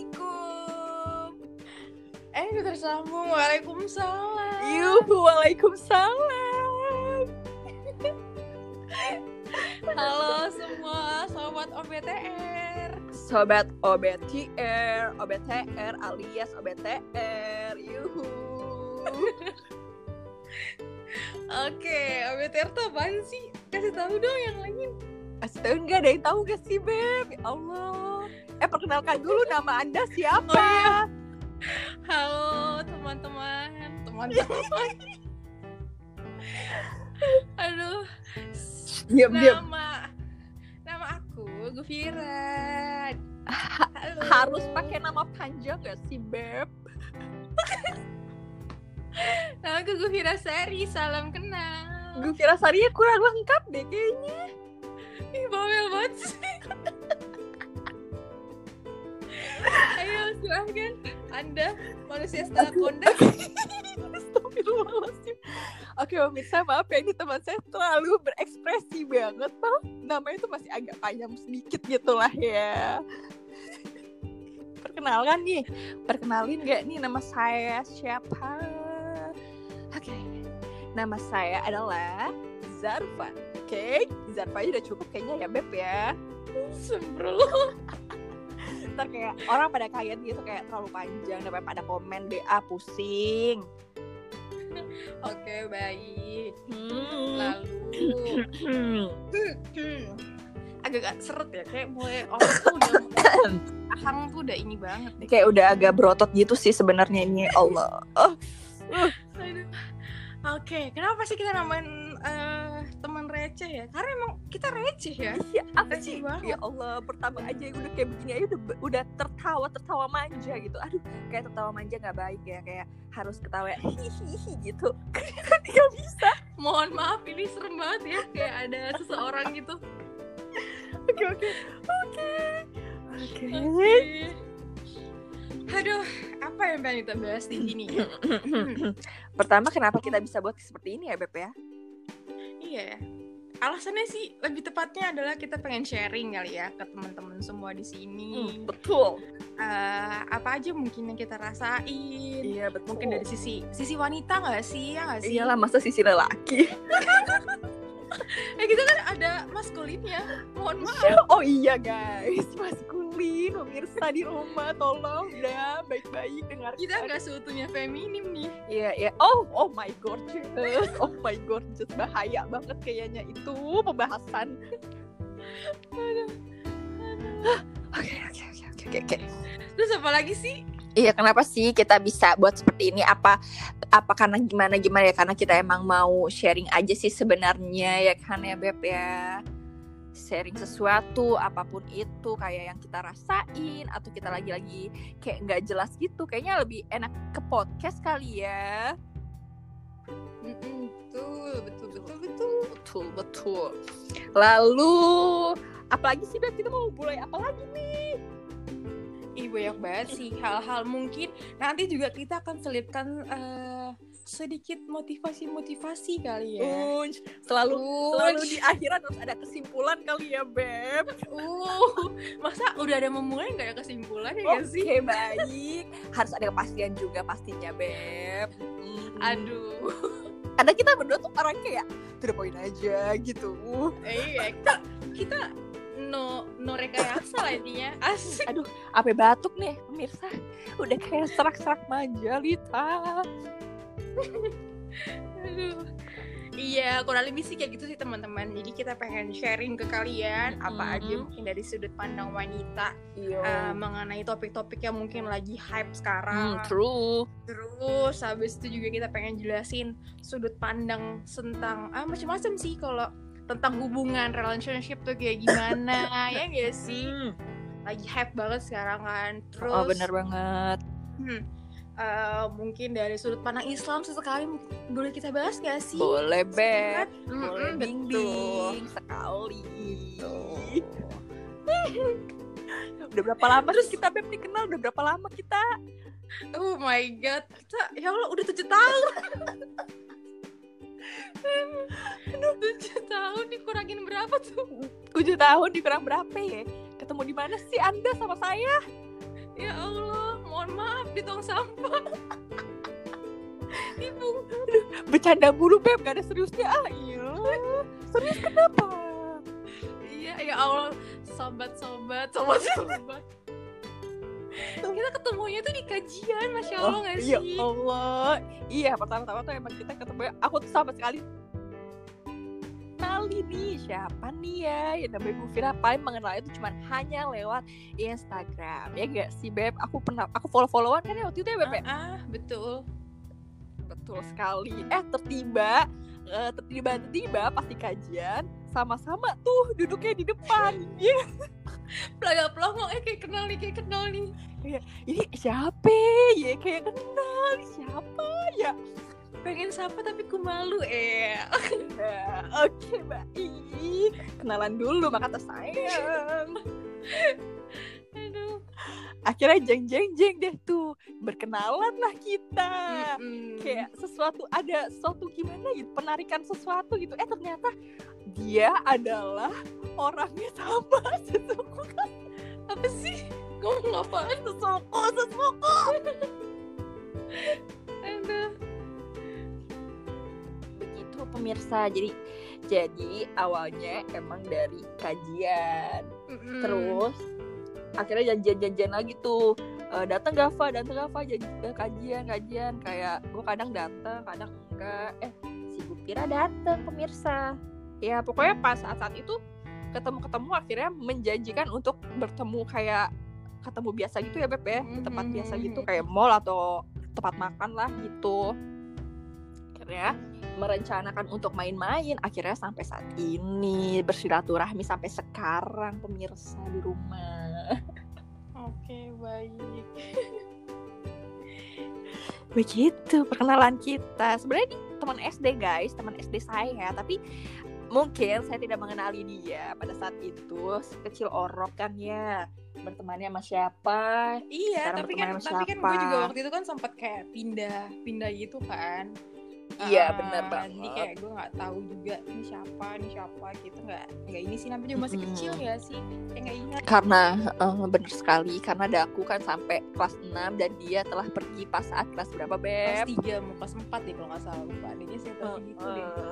Assalamualaikum. Eh, udah tersambung. Waalaikumsalam. Yuh, waalaikumsalam. Halo semua, sobat OBTR. Sobat OBTR, OBTR alias OBTR. Yuhu. Oke, OBTR tuh apaan sih? Kasih tahu dong yang lain. Kasih tau nggak ada yang tahu gak sih, Beb? Ya Allah. Eh, perkenalkan dulu nama Anda siapa? Oh, iya. Halo teman-teman, teman-teman. Aduh. Diam, diam. Nama nama aku Gufira. Halo. Harus pakai nama panjang gak sih, Beb? Nama aku Gufira Sari. Salam kenal. Gue kira sarinya kurang lengkap deh kayaknya. Ih, bawel banget sih. Ayo, silahkan. Anda manusia setelah pondok. Astagfirullahaladzim. Oke pemirsa maaf ya ini teman saya terlalu berekspresi banget tau namanya tuh masih agak panjang sedikit gitu lah ya perkenalkan nih perkenalin gak nih nama saya siapa oke nama saya adalah Zarfa oke Zarfa aja udah cukup kayaknya ya beb ya Sembrul. ntar kayak orang pada kaget gitu kayak terlalu panjang dan pada komen DA pusing Oke, baik. hmm. Lalu, Hmm. agak-agak seret ya. Kayak mulai orang tuh udah mulai ahang tuh udah ini banget deh. kayak udah agak berotot gitu sih sebenarnya ini Allah. Oh, Aduh. Oke, kenapa sih kita namain eh, teman receh ya? Karena emang kita receh ya. Iya, apa Keren sih? Ya banget. Allah, pertama aja yang udah kayak begini aja udah udah tertawa tertawa manja gitu. Aduh, kayak tertawa manja nggak baik ya, kayak harus ketawa hihihi gitu. Gak bisa. Mohon maaf, ini serem banget ya. Kayak ada seseorang gitu. Oke oke oke oke. Iya Oke. Aduh, apa yang pengen kita bahas di sini? ya? Pertama kenapa kita bisa buat seperti ini ya Beb ya? iya. ya. Alasannya sih lebih tepatnya adalah kita pengen sharing kali ya ke teman-teman semua di Hmm, sini. betul. Eh, apa aja mungkin yang kita rasain? Iya betul. Mungkin dari sisi sisi wanita nggak sih ya nggak sih? Iyalah Iya masa sisi lelaki. Eh kita kan ada maskulinnya. Mohon maaf. Oh iya guys, maskulin pemirsa di rumah tolong udah baik-baik dengar Kita nggak seutuhnya feminim nih. Iya, iya. Oh, oh my gorgeous. Oh my gorgeous. Bahaya banget kayaknya itu pembahasan. Hah, Oke, oke, oke, oke, oke, oke. Terus apa lagi sih? Iya, kenapa sih kita bisa buat seperti ini? Apa apa karena gimana gimana ya? Karena kita emang mau sharing aja sih sebenarnya ya kan ya Beb ya. Sharing sesuatu apapun itu kayak yang kita rasain atau kita lagi-lagi kayak nggak jelas gitu. Kayaknya lebih enak ke podcast kali ya. Mm-mm, betul, betul, betul, betul. betul betul lalu apalagi sih Beb kita mau mulai apa lagi Ih banyak banget sih hal-hal mungkin nanti juga kita akan selipkan eh, sedikit motivasi-motivasi kali ya. Uh, Unj Uh, selalu selalu Lalu Iya. di akhiran harus ada kesimpulan kali ya Beb uh, masa udah ada memulai nggak ada Oh. kesimpulan ya Iya nggak sih? baik harus ada kepastian juga pastinya Beb Mm. Aduh, karena kita berdua tuh orang kayak to the point aja gitu eh, iya, kita, kita no no rekayasa lah intinya. Asik. apa batuk nih pemirsa udah kayak serak-serak majalita Aduh. Iya, kurang lebih sih kayak gitu sih teman-teman. Jadi kita pengen sharing ke kalian apa aja Mhm. mungkin dari sudut pandang wanita eh, iya mengenai topik-topik yang mungkin lagi hype sekarang. Hmm, true Terus habis itu juga kita pengen jelasin sudut pandang tentang ah macam-macam sih kalau tentang hubungan relationship tuh kayak gimana ya gak sih lagi hype banget sekarang kan terus oh bener banget hmm, eh, mungkin dari sudut pandang Islam sesekali mungkin boleh kita bahas gak sih boleh Beb Singkat. Mm-mm, boleh Gitu. betul. bimbing sekali. Betul. Udah berapa lama terus kita Beb dikenal? Udah berapa lama kita? Oh my god, kita ya Allah udah tujuh tahun. tujuh tahun dikurangin berapa tuh? 7 tahun dikurang berapa ya? Ketemu di mana sih Anda sama saya? ya Allah mohon maaf di tong sampah ibu Bercanda mulu Beb, gak ada seriusnya ah. Iya. Serius kenapa? iya ya Allah sobat sobat sobat sobat kita ketemunya tuh di kajian masya Allah nggak sih ya Allah. Iya, pertama-tama tuh emang kita ketemu. ya. Aku tuh sama sekali kali nih siapa nih ya yang namanya Bu Vira paling mengenalnya tuh cuman hanya lewat Instagram ya gak sih Beb aku pernah aku follow followan kan ya waktu itu ya Beb ya? Ah, ah, betul Betul sekali. Eh tertiba, eh, tertiba-tiba pasti kajian sama-sama tuh duduknya di depan. Iya. pelaga pelongo eh kayak kenal nih kayak kenal nih Ini siapa? Ya kayak kenal siapa? pengen sapa tapi ku malu eh Ya, Oke baik, kenalan dulu maka tersayang. aduh Akhirnya jeng jeng jeng deh tuh berkenalan lah kita. Ah, Mm-mm. Kayak sesuatu ada sesuatu gimana gitu penarikan sesuatu gitu. Eh ternyata dia adalah orangnya sama sesuku apa sih ngomong apaan sesuku sesuku. aduh begitu pemirsa jadi jadi awalnya emang dari kajian Mm-mm. terus akhirnya janjian-janjian lagi tuh Eh, datang Gava datang Gava jadi eh, kajian kajian kayak gue kadang datang kadang enggak eh si Gupira datang pemirsa ya pokoknya pas saat saat itu ketemu ketemu akhirnya menjanjikan untuk bertemu kayak ketemu biasa gitu ya Beb ya di tempat Mhm. biasa gitu kayak mall atau tempat makan lah gitu akhirnya merencanakan untuk main-main akhirnya sampai saat ini bersilaturahmi sampai sekarang pemirsa di rumah oke baik begitu perkenalan kita sebenarnya ini teman SD guys teman SD saya tapi mungkin saya tidak mengenali dia pada saat itu kecil orok kan ya bertemannya sama siapa iya Sekarang tapi kan berteman sama tapi kan gue juga siapa? waktu itu kan sempat kayak pindah pindah gitu kan Iya, Ah, bener jadi banget. kayak gue nggak tahu juga ini siapa ini siapa gitu nggak nggak ini sih namanya juga masih Mm-mm. kecil ya sih kayak nggak ingat karena eh, bener sekali karena ada aku kan sampai kelas 6 dan dia telah pergi pas saat kelas berapa kelas beb tiga mau kelas empat deh kalau nggak salah lupa adanya siapa sih gitu deh Begitu.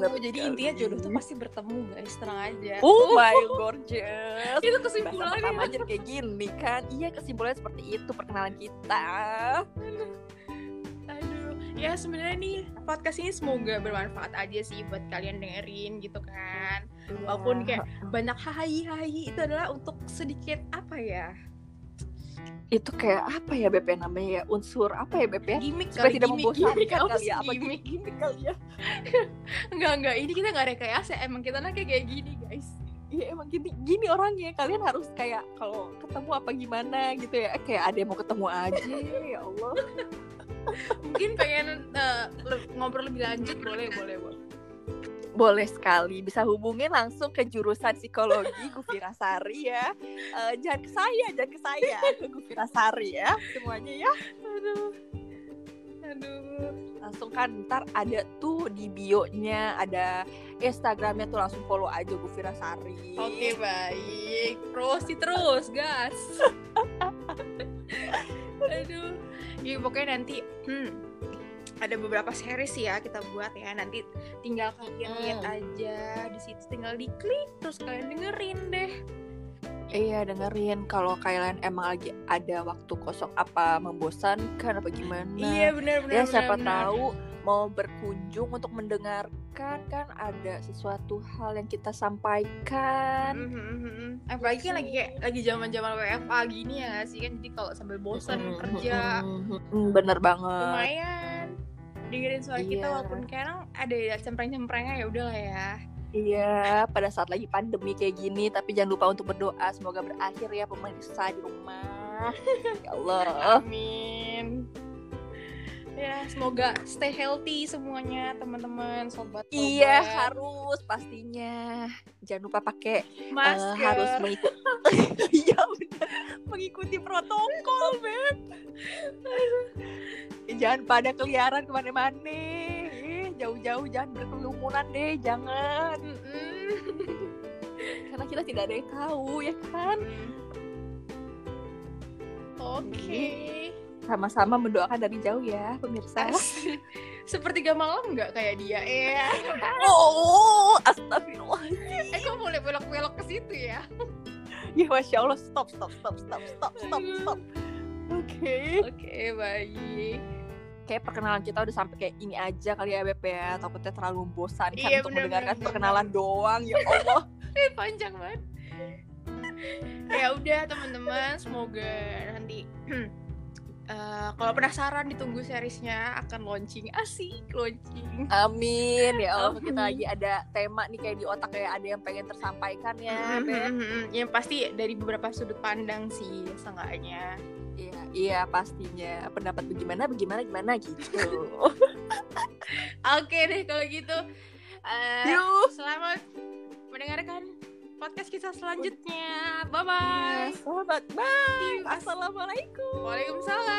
Tuh, jadi intinya jodoh tuh pasti bertemu guys tenang aja Oh my gorgeous. itu Bahasa kesimpulannya pertama aja kayak gini kan. Iya kesimpulannya seperti itu perkenalan kita. aduh ya sebenarnya nih podcast ini semoga bermanfaat aja sih buat kalian dengerin gitu kan Walaupun kayak banyak hahi hahi itu adalah untuk sedikit apa ya itu kayak apa ya BP namanya ya unsur apa ya BP ya? gimmick Supaya kali tidak gimmick membosankan gimmick kali apa sih ya, apa gimmick Gimik kali ya. enggak enggak ini kita nggak rekayasa emang kita nanya kayak gini guys Iya emang gini gini orangnya kalian harus kayak kalau ketemu apa gimana gitu ya kayak ada yang mau ketemu aja ya Allah. mungkin pengen eh, le- ngobrol lebih lanjut boleh boleh boleh Boleh sekali bisa hubungin langsung ke jurusan psikologi Gufira Sari ya. Eh, jangan ke saya, jangan ke saya, ke Gufira Sari ya semuanya ya. aduh aduh langsung kan ntar ada tuh di bio-nya ada Instagramnya tuh langsung follow aja Bu Fira Sari. oke baik prosi terus gas aduh ya pokoknya nanti hmm, ada beberapa series sih ya kita buat ya nanti tinggal kalian lihat Hmm. aja di situ tinggal diklik terus kalian dengerin deh Iya dengerin kalau kalian emang lagi ada waktu kosong apa membosankan apa gimana. iya ya benar-benar siapa benar-benar. tahu mau berkunjung untuk mendengarkan kan ada sesuatu hal yang kita sampaikan. Mhm, mhm, mhm. apalagi kan lagi Gitu. kayak lagi zaman zaman WFA gini ya nggak sih kan jadi kalau sambil bosan Mm, kerja mm, mm, mm, bener banget. lumayan dengerin suara kita Iya. walaupun kadang ada ya cempreng-cemprengnya ya udahlah ya Iya, pada saat lagi pandemi kayak gini, tapi jangan lupa untuk berdoa semoga berakhir ya pemirsa di rumah. ya Allah. amin ya semoga stay healthy semuanya teman-teman sobat Iya harus pastinya. Jangan lupa pakai eh, masker harus mengikuti. Iya benar mengikuti protokol, Beb. jangan pada keliaran kemana-mana. Eh, Jauh-jauh jangan berkerumunan deh, jangan. Mhm. Mm-mm. Karena kita tidak ada yang tahu ya kan. Oke. Sama-sama mendoakan dari jauh ya, pemirsa. Asik. Sepertiga malam nggak kayak dia? Eh, Oh, astagfirullah. eh kok boleh belok-belok ke situ ya? Ya Masya Allah, stop, stop, stop, stop, stop, stop, stop. Oke. Oke, baik. Kayak perkenalan kita udah sampai kayak ini aja kali ya Beb ya. Takutnya terlalu membosankan Iya, untuk bener, mendengarkan bener, perkenalan doang. Ya Allah. Eh, panjang banget. ya udah teman-teman, semoga nanti Eh, kalau penasaran ditunggu seriesnya akan launching asik launching. Amin. Ya Allah, kita Amin. lagi ada tema nih kayak di otak kayak ada yang pengen tersampaikan ya, Beb. Yang pasti dari beberapa sudut pandang sih seenggaknya. Iya, iya pastinya. Pendapat bagaimana, bagaimana, gimana gitu. Oke deh kalau gitu. Eh, Yuk. selamat mendengarkan podcast kita selanjutnya. Bye Ya, bye. Iya. Selamat malam. Assalamualaikum. Waalaikumsalam.